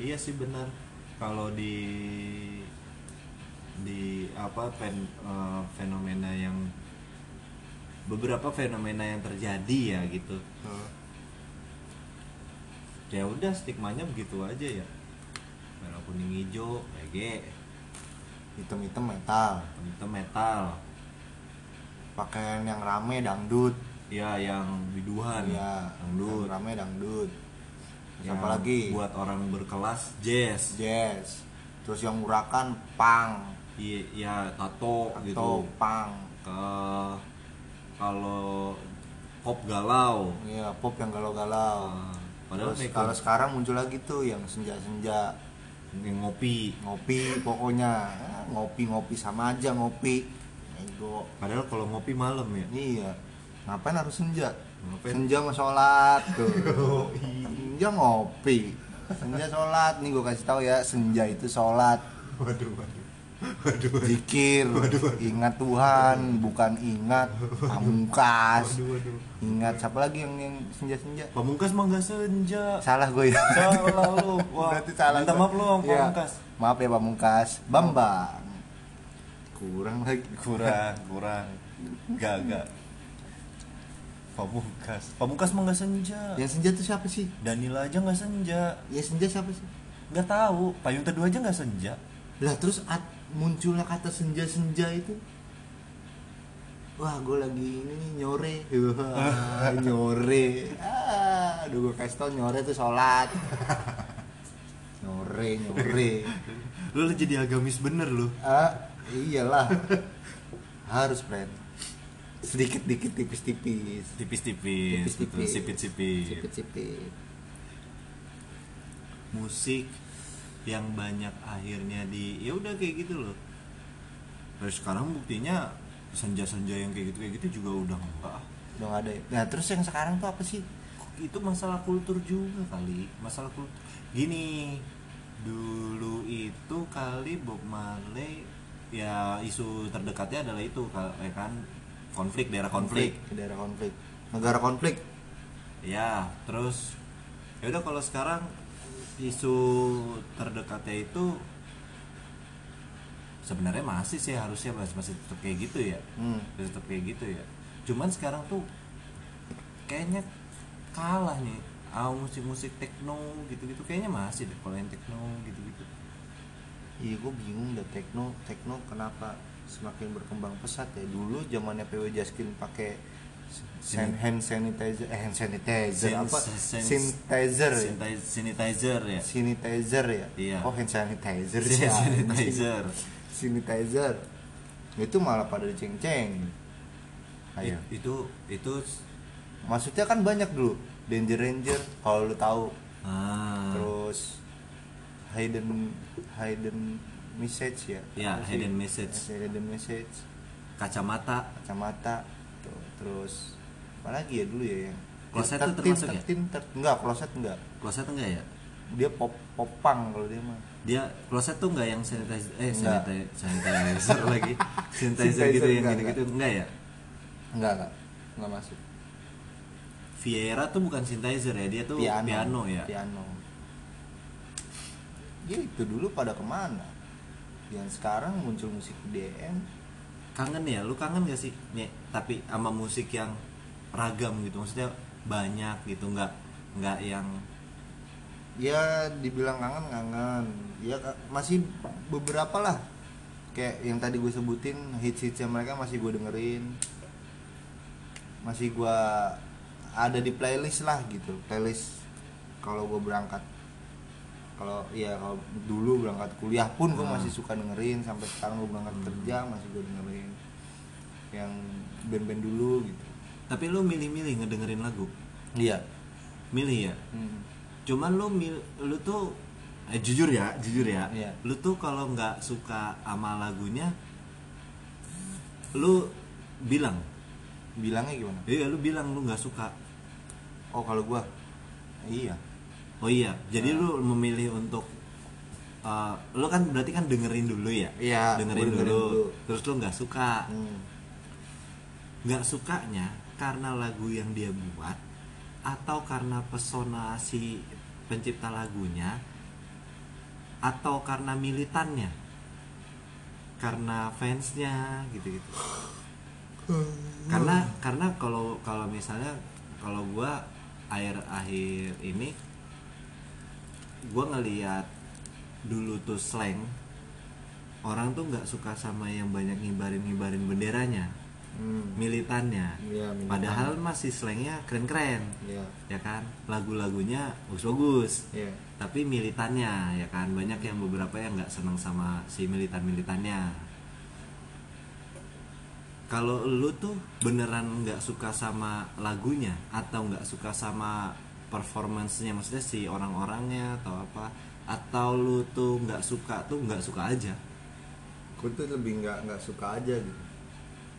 Speaker 2: Iya sih benar. Kalau di di apa pen- eh, fenomena yang beberapa fenomena yang terjadi ya gitu.
Speaker 1: Heeh.
Speaker 2: Ya udah stigmanya begitu aja ya. Merah kuning hijau, EG,
Speaker 1: hitam-hitam metal
Speaker 2: itu metal.
Speaker 1: pakaian yang rame dangdut
Speaker 2: Ya yang biduhan,
Speaker 1: ya
Speaker 2: dangdut.
Speaker 1: yang rame dangdut Terus
Speaker 2: Yang
Speaker 1: apa lagi
Speaker 2: Buat orang berkelas jazz.
Speaker 1: jazz terus yang urakan pang
Speaker 2: Iya, ya tato,
Speaker 1: atau
Speaker 2: gitu.
Speaker 1: pang
Speaker 2: ke Eh, kalau pop galau
Speaker 1: ya pop yang galau-galau
Speaker 2: eh, padahal
Speaker 1: terus
Speaker 2: mereka
Speaker 1: kalau sekarang muncul lagi tuh yang senja-senja
Speaker 2: yang ngopi
Speaker 1: ngopi pokoknya Ah, ngopi-ngopi sama aja ngopi ego
Speaker 2: padahal kalau ngopi malam ya
Speaker 1: iya ngapain harus senja
Speaker 2: Ngapain?
Speaker 1: senja sama sholat tuh senja ngopi senja sholat nih gue kasih tahu ya senja itu sholat
Speaker 2: waduh waduh waduh
Speaker 1: zikir ingat Tuhan bukan ingat pamungkas
Speaker 2: waduh
Speaker 1: ingat siapa lagi yang yang senja senja
Speaker 2: pamungkas mah nggak senja
Speaker 1: salah gue ya
Speaker 2: salah lu wah
Speaker 1: Berarti salah
Speaker 2: minta
Speaker 1: gua.
Speaker 2: maaf lu sama
Speaker 1: Iya.
Speaker 2: pamungkas
Speaker 1: maaf ya pamungkas bambang kurang lagi
Speaker 2: kurang kurang gak gak pamungkas Ya. pamungkas mah nggak senja
Speaker 1: yang Ya, senja itu siapa sih
Speaker 2: Danila aja nggak senja
Speaker 1: yang senja siapa sih
Speaker 2: nggak tahu payung teduh aja nggak senja
Speaker 1: lah terus at- muncullah kata senja-senja itu wah gue lagi ini nih, nyore Wah, nyore ah, aduh gue kasih tau nyore tuh sholat nyore nyore
Speaker 2: lu jadi agamis bener lu
Speaker 1: ah iyalah harus friend sedikit dikit tipis tipis
Speaker 2: tipis-tipis betul sipit-sipit
Speaker 1: sipit sipit
Speaker 2: musik yang banyak akhirnya di ya udah kayak gitu loh terus sekarang buktinya senja-senja yang kayak gitu kayak gitu juga udah enggak ah.
Speaker 1: udah nggak ada ya. nah terus yang sekarang tuh apa sih
Speaker 2: itu masalah kultur juga kali masalah kultur gini dulu itu kali Bob Marley ya isu terdekatnya adalah itu kal- ya kan konflik daerah konflik
Speaker 1: daerah konflik negara konflik
Speaker 2: ya terus ya udah kalau sekarang isu terdekatnya itu sebenarnya masih sih harusnya masih masih tetap kayak gitu ya
Speaker 1: hmm.
Speaker 2: Masih tetap kayak gitu ya cuman sekarang tuh kayaknya kalah nih ah musik-musik techno gitu-gitu kayaknya masih deh kalau yang techno gitu-gitu
Speaker 1: Iya, gue bingung dah techno, techno kenapa semakin berkembang pesat ya? Dulu zamannya PW Jaskin pakai sen- hand sanitizer, eh, hand sanitizer
Speaker 2: Sin-
Speaker 1: apa?
Speaker 2: sin-
Speaker 1: Sanitizer, ya?
Speaker 2: Sinti- sanitizer ya
Speaker 1: sanitizer ya?
Speaker 2: Iya.
Speaker 1: Oh hand sanitizer ya.
Speaker 2: Sin- sanitizer
Speaker 1: sanitizer. Itu malah pada diceng-ceng. Ayo.
Speaker 2: It- itu itu
Speaker 1: Maksudnya kan banyak dulu Danger Ranger kalau lu tahu,
Speaker 2: ah
Speaker 1: terus hidden hidden message ya.
Speaker 2: Iya,
Speaker 1: Apa sih? Iya,
Speaker 2: hidden message.
Speaker 1: Hidden message.
Speaker 2: kacamata
Speaker 1: kacamata tuh terus apa lagi ya dulu ya yang
Speaker 2: Kloset tuh
Speaker 1: Tertin,
Speaker 2: termasuk ya?
Speaker 1: tertin, ter- enggak kloset enggak
Speaker 2: kloset enggak ya
Speaker 1: dia pop popang kalau dia mah
Speaker 2: dia kloset tuh nggak yang sanitizer eh
Speaker 1: Nggak.
Speaker 2: sanitizer, sanitizer lagi sanitizer gitu
Speaker 1: Sanitizer
Speaker 2: yang
Speaker 1: nggak,
Speaker 2: gitu gitu enggak ya
Speaker 1: enggak enggak enggak masuk
Speaker 2: Viera tuh bukan sanitizer ya dia tuh piano, ya
Speaker 1: piano ya itu dulu pada kemana yang sekarang muncul musik DM
Speaker 2: kangen ya lu kangen gak sih Nye, tapi sama musik yang ragam gitu maksudnya banyak gitu nggak nggak yang
Speaker 1: ya dibilang kangen kangen ya ka- masih beberapa lah kayak yang tadi gue sebutin hits hitsnya mereka masih gue dengerin masih gue ada di playlist lah gitu playlist kalau gue berangkat kalau ya kalau dulu berangkat kuliah pun gue
Speaker 2: Hmm.
Speaker 1: masih suka dengerin sampai sekarang gue berangkat kerja masih gue dengerin yang band-band dulu gitu
Speaker 2: tapi lu milih-milih ngedengerin lagu
Speaker 1: iya
Speaker 2: milih ya
Speaker 1: Hmm.
Speaker 2: cuman lu mil- lu tuh eh, jujur ya jujur ya
Speaker 1: Iya.
Speaker 2: lu tuh kalau nggak suka sama lagunya lu bilang
Speaker 1: bilangnya gimana
Speaker 2: Iya, lu bilang lu nggak suka.
Speaker 1: oh kalau Nah. gue iya
Speaker 2: Oh iya, jadi lu memilih untuk eh, lu kan berarti kan dengerin dulu ya.
Speaker 1: Iya,
Speaker 2: dengerin,
Speaker 1: gua dengerin
Speaker 2: dulu,
Speaker 1: dulu.
Speaker 2: Terus lu nggak suka.
Speaker 1: Hmm.
Speaker 2: nggak sukanya karena lagu yang dia buat atau karena pesona si pencipta lagunya atau karena militannya karena fansnya gitu gitu karena karena kalau kalau misalnya kalau gua akhir akhir ini gua ngelihat dulu tuh slang orang tuh nggak suka sama yang banyak ngibarin ngibarin benderanya
Speaker 1: Hmm.
Speaker 2: militannya
Speaker 1: Iya, militan.
Speaker 2: padahal masih slangnya keren keren
Speaker 1: Iya.
Speaker 2: ya kan lagu-lagunya bagus bagus
Speaker 1: Iya.
Speaker 2: tapi militannya ya kan banyak yang beberapa yang nggak seneng sama si militan militannya kalau lu tuh beneran nggak suka sama lagunya atau nggak suka sama performancenya maksudnya si orang-orangnya atau apa atau lu tuh nggak suka tuh nggak suka aja
Speaker 1: Gue tuh lebih nggak nggak suka aja gitu.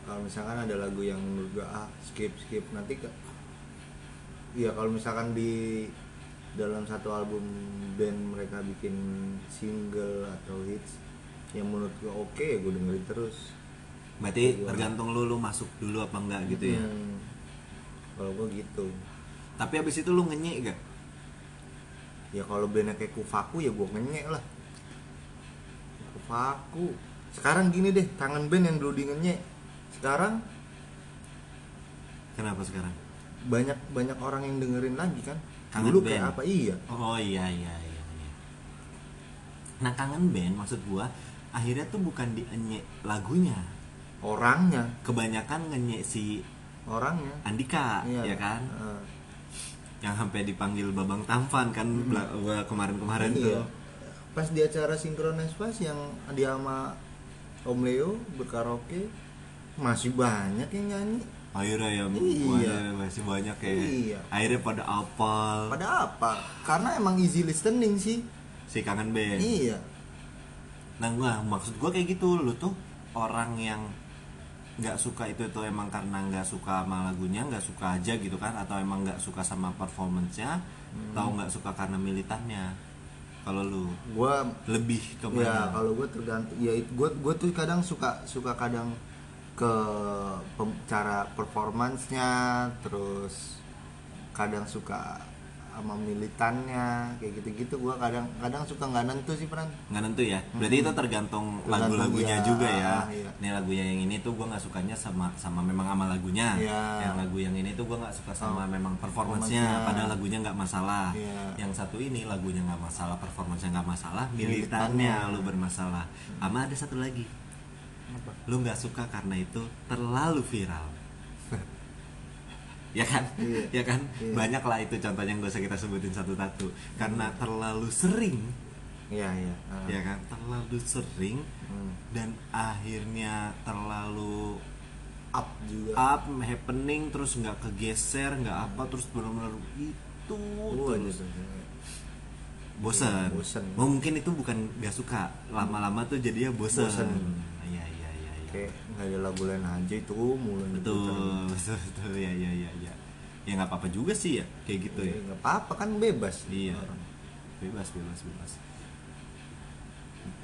Speaker 1: Kalau misalkan ada lagu yang menurut gue ah skip skip nanti ke Iya kalau misalkan di dalam satu album band mereka bikin single atau hits yang menurut gue oke ya gue dengerin terus
Speaker 2: berarti
Speaker 1: Iya.
Speaker 2: tergantung lu lu masuk dulu apa enggak gitu ya
Speaker 1: Hmm. kalau gue gitu
Speaker 2: tapi abis itu lu ngenyek gak
Speaker 1: ya kalau bandnya kayak kufaku ya gue ngenyek lah kufaku sekarang gini deh tangan band yang dulu di ngenyek sekarang
Speaker 2: kenapa sekarang
Speaker 1: banyak banyak orang yang dengerin lagi kan
Speaker 2: Kangen
Speaker 1: dulu kayak
Speaker 2: band.
Speaker 1: apa iya
Speaker 2: Oh iya iya iya. iya. Nah kangen band maksud gua akhirnya tuh bukan di enyek lagunya,
Speaker 1: orangnya
Speaker 2: kebanyakan ngenyek si
Speaker 1: orangnya
Speaker 2: Andika
Speaker 1: Iya.
Speaker 2: ya kan,
Speaker 1: Heeh.
Speaker 2: yang sampai dipanggil Babang Tampan kan bela- gua kemarin-kemarin
Speaker 1: Hmm. iya.
Speaker 2: tuh.
Speaker 1: pas di acara sinkronis pas yang dia sama Om Leo berkaraoke masih banyak yang nyanyi
Speaker 2: Akhirnya
Speaker 1: Iya.
Speaker 2: ya banyak- masih banyak ya.
Speaker 1: Iya.
Speaker 2: Akhirnya pada apal
Speaker 1: pada apa karena emang easy listening sih
Speaker 2: si kangen band.
Speaker 1: iya
Speaker 2: Nah gua maksud gua kayak gitu lu tuh orang yang nggak suka itu itu emang karena nggak suka sama lagunya nggak suka aja gitu kan atau emang nggak suka sama performance-nya atau nggak suka karena militannya kalau lu
Speaker 1: gua
Speaker 2: lebih ke
Speaker 1: ya
Speaker 2: mana
Speaker 1: kalau gue tergantung ya gue gue tuh kadang suka suka kadang ke pem- cara performancenya terus kadang suka sama militannya kayak gitu-gitu gue kadang kadang suka nggak nentu sih peran
Speaker 2: nggak nentu ya berarti itu tergantung
Speaker 1: Tergantung
Speaker 2: lagu-lagunya
Speaker 1: Hmm. dia,
Speaker 2: juga ya
Speaker 1: iya.
Speaker 2: ini lagunya yang ini tuh gua nggak sukanya sama sama memang sama lagunya
Speaker 1: Iya. Oh.
Speaker 2: yang lagu yang ini tuh gua nggak suka sama memang performance-nya
Speaker 1: performance-nya.
Speaker 2: padahal lagunya nggak masalah
Speaker 1: Iya.
Speaker 2: yang satu ini lagunya nggak masalah performance-nya nggak masalah militannya lu bermasalah sama ada satu lagi
Speaker 1: Hmm. Apa?
Speaker 2: lu nggak suka karena itu terlalu viral ya kan
Speaker 1: Iya.
Speaker 2: ya kan
Speaker 1: Iya.
Speaker 2: banyak lah itu contohnya yang gak usah kita sebutin satu-satu karena terlalu sering
Speaker 1: iya iya ah.
Speaker 2: ya kan terlalu sering
Speaker 1: Hmm.
Speaker 2: dan akhirnya terlalu
Speaker 1: up juga
Speaker 2: up happening terus nggak kegeser nggak apa terus benar-benar itu
Speaker 1: Gua
Speaker 2: terus.
Speaker 1: aja tuh. gitu.
Speaker 2: bosen,
Speaker 1: Iya, Oh, bosen.
Speaker 2: Oh, mungkin itu bukan nggak suka lama-lama tuh jadinya bosen,
Speaker 1: Bosen.
Speaker 2: iya iya iya iya.
Speaker 1: kayak nggak ada lagu lain aja itu mulu
Speaker 2: betul betul betul ya ya ya ya ya nggak apa-apa juga sih ya kayak gitu ya
Speaker 1: nggak apa-apa kan bebas
Speaker 2: Iya.
Speaker 1: Orang.
Speaker 2: Bebas, bebas, bebas.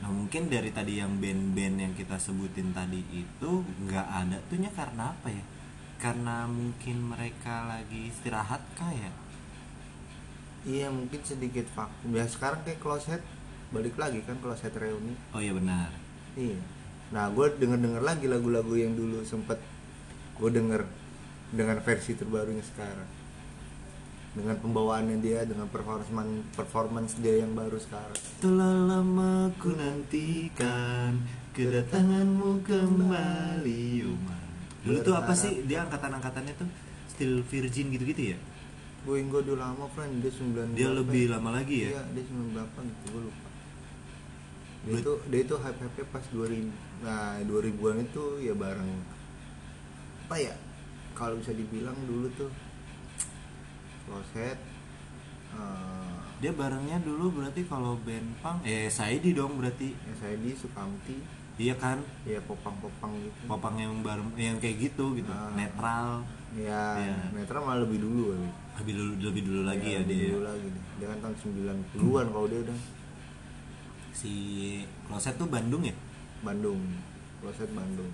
Speaker 2: Nah mungkin dari tadi yang band-band yang kita sebutin tadi itu nggak ada tuhnya karena apa ya? Karena mungkin mereka lagi istirahat ya? kayak.
Speaker 1: Iya mungkin sedikit vakum ya sekarang kayak closet balik lagi kan closet reuni
Speaker 2: Oh iya benar.
Speaker 1: iya nah gue denger denger lagi lagu-lagu yang dulu sempet gue denger dengan versi terbarunya sekarang dengan pembawaannya dia dengan performance performance dia yang baru sekarang
Speaker 2: Telah lama ku nantikan kedatanganmu kembali Yuma. Dulu tuh apa sih dia angkatan-angkatannya tuh still virgin gitu-gitu ya?
Speaker 1: gue gue dulu lama friend dia sembilan
Speaker 2: Dia
Speaker 1: berapa
Speaker 2: lebih
Speaker 1: ya?
Speaker 2: lama lagi ya?
Speaker 1: iya dia sembilan berapa gitu gue lupa dia
Speaker 2: Berarti-
Speaker 1: itu dia itu hype hype pas 2000 nah 2000-an itu ya bareng apa ya kalau bisa dibilang dulu tuh kloset eh
Speaker 2: Dia barengnya dulu berarti kalau band punk eh Saidi dong berarti
Speaker 1: SID Sukamti
Speaker 2: Iya kan,
Speaker 1: ya popang popang gitu
Speaker 2: popang yang bareng yang kayak gitu gitu,
Speaker 1: Ah.
Speaker 2: netral.
Speaker 1: ya
Speaker 2: Iya.
Speaker 1: Netra malah lebih dulu kali.
Speaker 2: Lebih dulu lebih dulu lagi
Speaker 1: Ya,
Speaker 2: ya,
Speaker 1: lebih
Speaker 2: dia.
Speaker 1: dulu lagi deh. dia kan tahun 90-an kalau dia udah
Speaker 2: Si Kloset tuh Bandung ya?
Speaker 1: Bandung kloset Bandung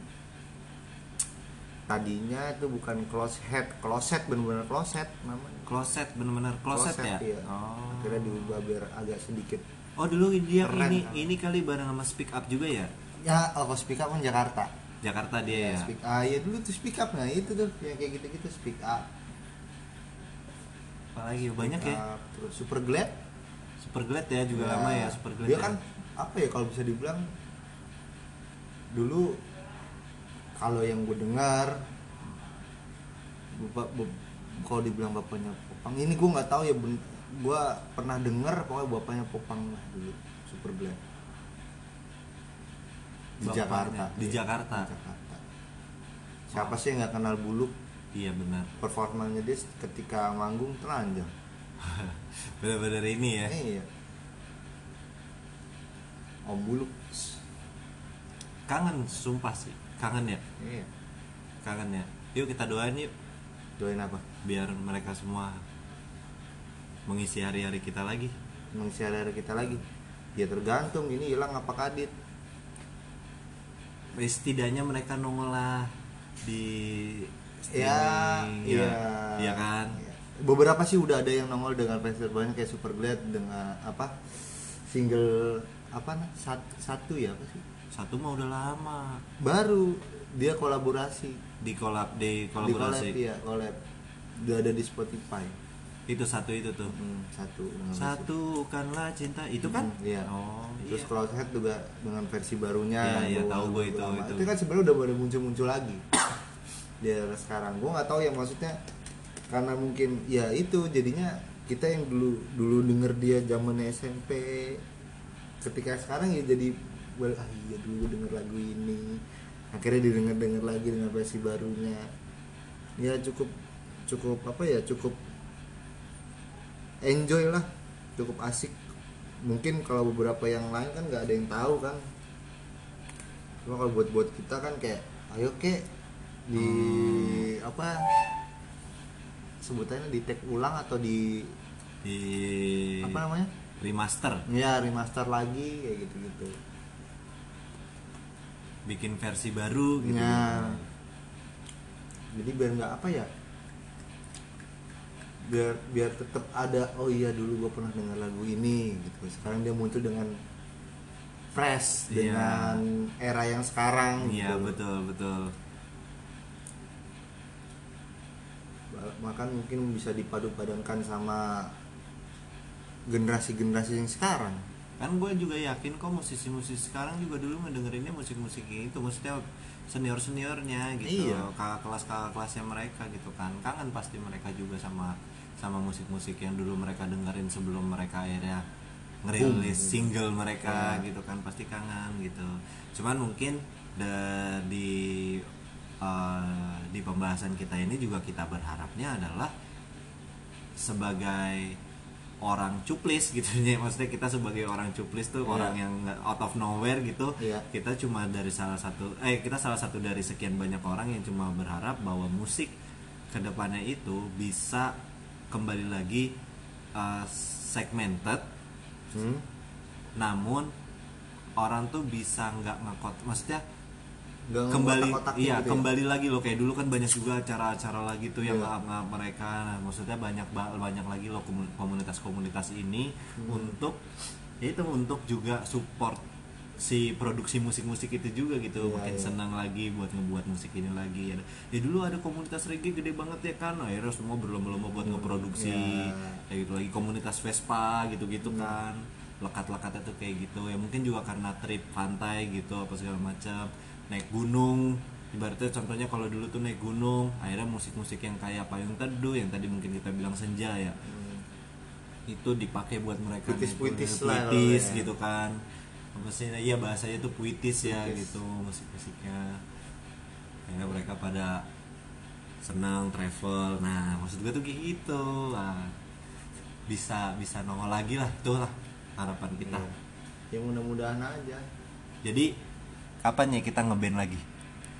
Speaker 1: tadinya itu bukan closet closet bener-bener closet namanya
Speaker 2: Kloset bener-bener kloset, ya.
Speaker 1: iya.
Speaker 2: Oh.
Speaker 1: akhirnya diubah biar agak sedikit
Speaker 2: Oh dulu dia
Speaker 1: Keren,
Speaker 2: ini
Speaker 1: kan?
Speaker 2: ini kali bareng sama Speak Up juga ya
Speaker 1: ya kalau speak up kan Jakarta
Speaker 2: Jakarta dia ya.
Speaker 1: speak ah ya dulu tuh speak up nah itu tuh yang kayak gitu-gitu speak up
Speaker 2: Apalagi banyak
Speaker 1: Speak
Speaker 2: ya.
Speaker 1: Up, terus super glad
Speaker 2: Super Glad ya juga lama ya Super Glad.
Speaker 1: Iya. dia
Speaker 2: ya.
Speaker 1: kan apa ya kalau bisa dibilang dulu kalau yang gue dengar bapak bap- kalau dibilang bapaknya popang ini gue nggak tahu ya ben, gue pernah dengar pokoknya bapaknya popang lah dulu super glad di
Speaker 2: Bapaknya,
Speaker 1: Jakarta
Speaker 2: di
Speaker 1: Iya,
Speaker 2: Jakarta.
Speaker 1: di Jakarta siapa sih yang nggak kenal buluk
Speaker 2: Iya benar.
Speaker 1: performanya dia ketika manggung telanjang
Speaker 2: Bener-bener ini ya.
Speaker 1: iya om buluk
Speaker 2: Kangen sumpah sih. Kangen ya.
Speaker 1: Iya.
Speaker 2: Kangen ya. Yuk kita doain yuk
Speaker 1: Doain apa?
Speaker 2: biar mereka semua mengisi hari-hari kita lagi.
Speaker 1: Mengisi hari kita lagi. Ya tergantung ini hilang apa kadit.
Speaker 2: Eh, Setidaknya mereka nongol lah di
Speaker 1: Ya,
Speaker 2: streaming,
Speaker 1: iya.
Speaker 2: Iya kan?
Speaker 1: Iya. Beberapa sih udah ada yang nongol dengan fans terbanyak kayak Superglad dengan apa? Single apa nah, sat- satu ya apa sih?
Speaker 2: Satu mah udah lama
Speaker 1: Baru dia kolaborasi
Speaker 2: di kolab
Speaker 1: di
Speaker 2: di
Speaker 1: collab
Speaker 2: kolaborasi.
Speaker 1: ya collab udah ada di Spotify
Speaker 2: Itu satu itu tuh.
Speaker 1: Hmm, satu dengan
Speaker 2: Satukanlah cinta itu kan?
Speaker 1: Hmm, iya.
Speaker 2: Oh,
Speaker 1: terus
Speaker 2: iya.
Speaker 1: Close Head juga dengan versi barunya
Speaker 2: Iya,
Speaker 1: yang
Speaker 2: iya,
Speaker 1: gua
Speaker 2: tahu gua
Speaker 1: nunggu
Speaker 2: itu,
Speaker 1: lama.
Speaker 2: itu.
Speaker 1: kan sebenarnya udah mulai muncul-muncul lagi di era sekarang gue nggak tahu ya maksudnya karena mungkin ya itu jadinya kita yang dulu dulu denger dia zaman SMP ketika sekarang ya jadi well, ah iya dulu gua denger lagu ini akhirnya didengar dengar lagi dengan versi barunya ya cukup cukup apa ya cukup enjoy lah cukup asik mungkin kalau beberapa yang lain kan nggak ada yang tahu kan cuma kalau buat buat kita kan kayak ayo kek di apa sebutannya di take ulang atau di
Speaker 2: di
Speaker 1: apa namanya
Speaker 2: remaster
Speaker 1: ya remaster lagi kayak gitu gitu
Speaker 2: bikin versi baru gitu
Speaker 1: ya jadi biar nggak apa ya biar biar tetap ada oh iya dulu gue pernah dengar lagu ini gitu sekarang dia muncul dengan fresh
Speaker 2: Iya.
Speaker 1: dengan era yang sekarang
Speaker 2: iya
Speaker 1: gitu.
Speaker 2: betul betul
Speaker 1: makan mungkin bisa dipadu padankan sama generasi-generasi yang sekarang
Speaker 2: kan gue juga yakin kok musisi-musisi sekarang juga dulu ngedengerinnya musik-musik itu maksudnya senior seniornya gitu
Speaker 1: Iya.
Speaker 2: kakak kelas kakak kelasnya mereka gitu kan kangen pasti mereka juga sama sama musik-musik yang dulu mereka dengerin sebelum mereka akhirnya ngerilis single mereka
Speaker 1: Iya.
Speaker 2: gitu kan pasti kangen gitu cuman mungkin de- di eh, di pembahasan kita ini juga kita berharapnya adalah sebagai orang cuplis gitu ya maksudnya kita sebagai orang cuplis tuh
Speaker 1: Iya.
Speaker 2: orang yang nggak- out of nowhere gitu
Speaker 1: Iya.
Speaker 2: kita cuma dari salah satu eh kita salah satu dari sekian banyak orang yang cuma berharap bahwa musik kedepannya itu bisa kembali lagi uh, segmented
Speaker 1: hmm?
Speaker 2: namun orang tuh bisa nggak ngekot maksudnya
Speaker 1: Nggak
Speaker 2: kembali
Speaker 1: ngotak-ngotakin
Speaker 2: iya
Speaker 1: gitu ya?
Speaker 2: kembali lagi loh kayak dulu kan banyak juga acara-acara lagi tuh yang
Speaker 1: Iya.
Speaker 2: nge- nge- mereka nah, maksudnya banyak ba- banyak lagi loh komu- komunitas-komunitas ini
Speaker 1: Hmm.
Speaker 2: untuk ya itu untuk juga support si produksi musik-musik itu juga
Speaker 1: Iya,
Speaker 2: gitu makin
Speaker 1: iya.
Speaker 2: senang lagi buat ngebuat musik ini lagi ya, ya dulu ada komunitas reggae gede banget ya kan akhirnya semua berlomba-lomba buat ngeproduksi
Speaker 1: Hmm, Iya.
Speaker 2: kayak gitu lagi komunitas Vespa gitu-gitu kan lekat-lekatnya tuh kayak gitu ya mungkin juga karena trip pantai gitu apa segala macam naik gunung ibaratnya contohnya kalau dulu tuh naik gunung akhirnya musik-musik yang kayak payung teduh yang tadi mungkin kita bilang senja ya
Speaker 1: Hmm.
Speaker 2: itu dipakai buat mereka naik
Speaker 1: Puitis-puitis
Speaker 2: gunung,
Speaker 1: lah kalau
Speaker 2: puitis
Speaker 1: ya.
Speaker 2: gitu kan apa sih iya bahasanya tuh puitis, ya
Speaker 1: Puitis.
Speaker 2: gitu musik-musiknya akhirnya mereka pada senang travel nah maksud gue tuh kayak gitu lah bisa bisa nongol lagi lah itu lah harapan kita
Speaker 1: Iya. ya mudah-mudahan aja
Speaker 2: jadi kapan ya kita ngeband lagi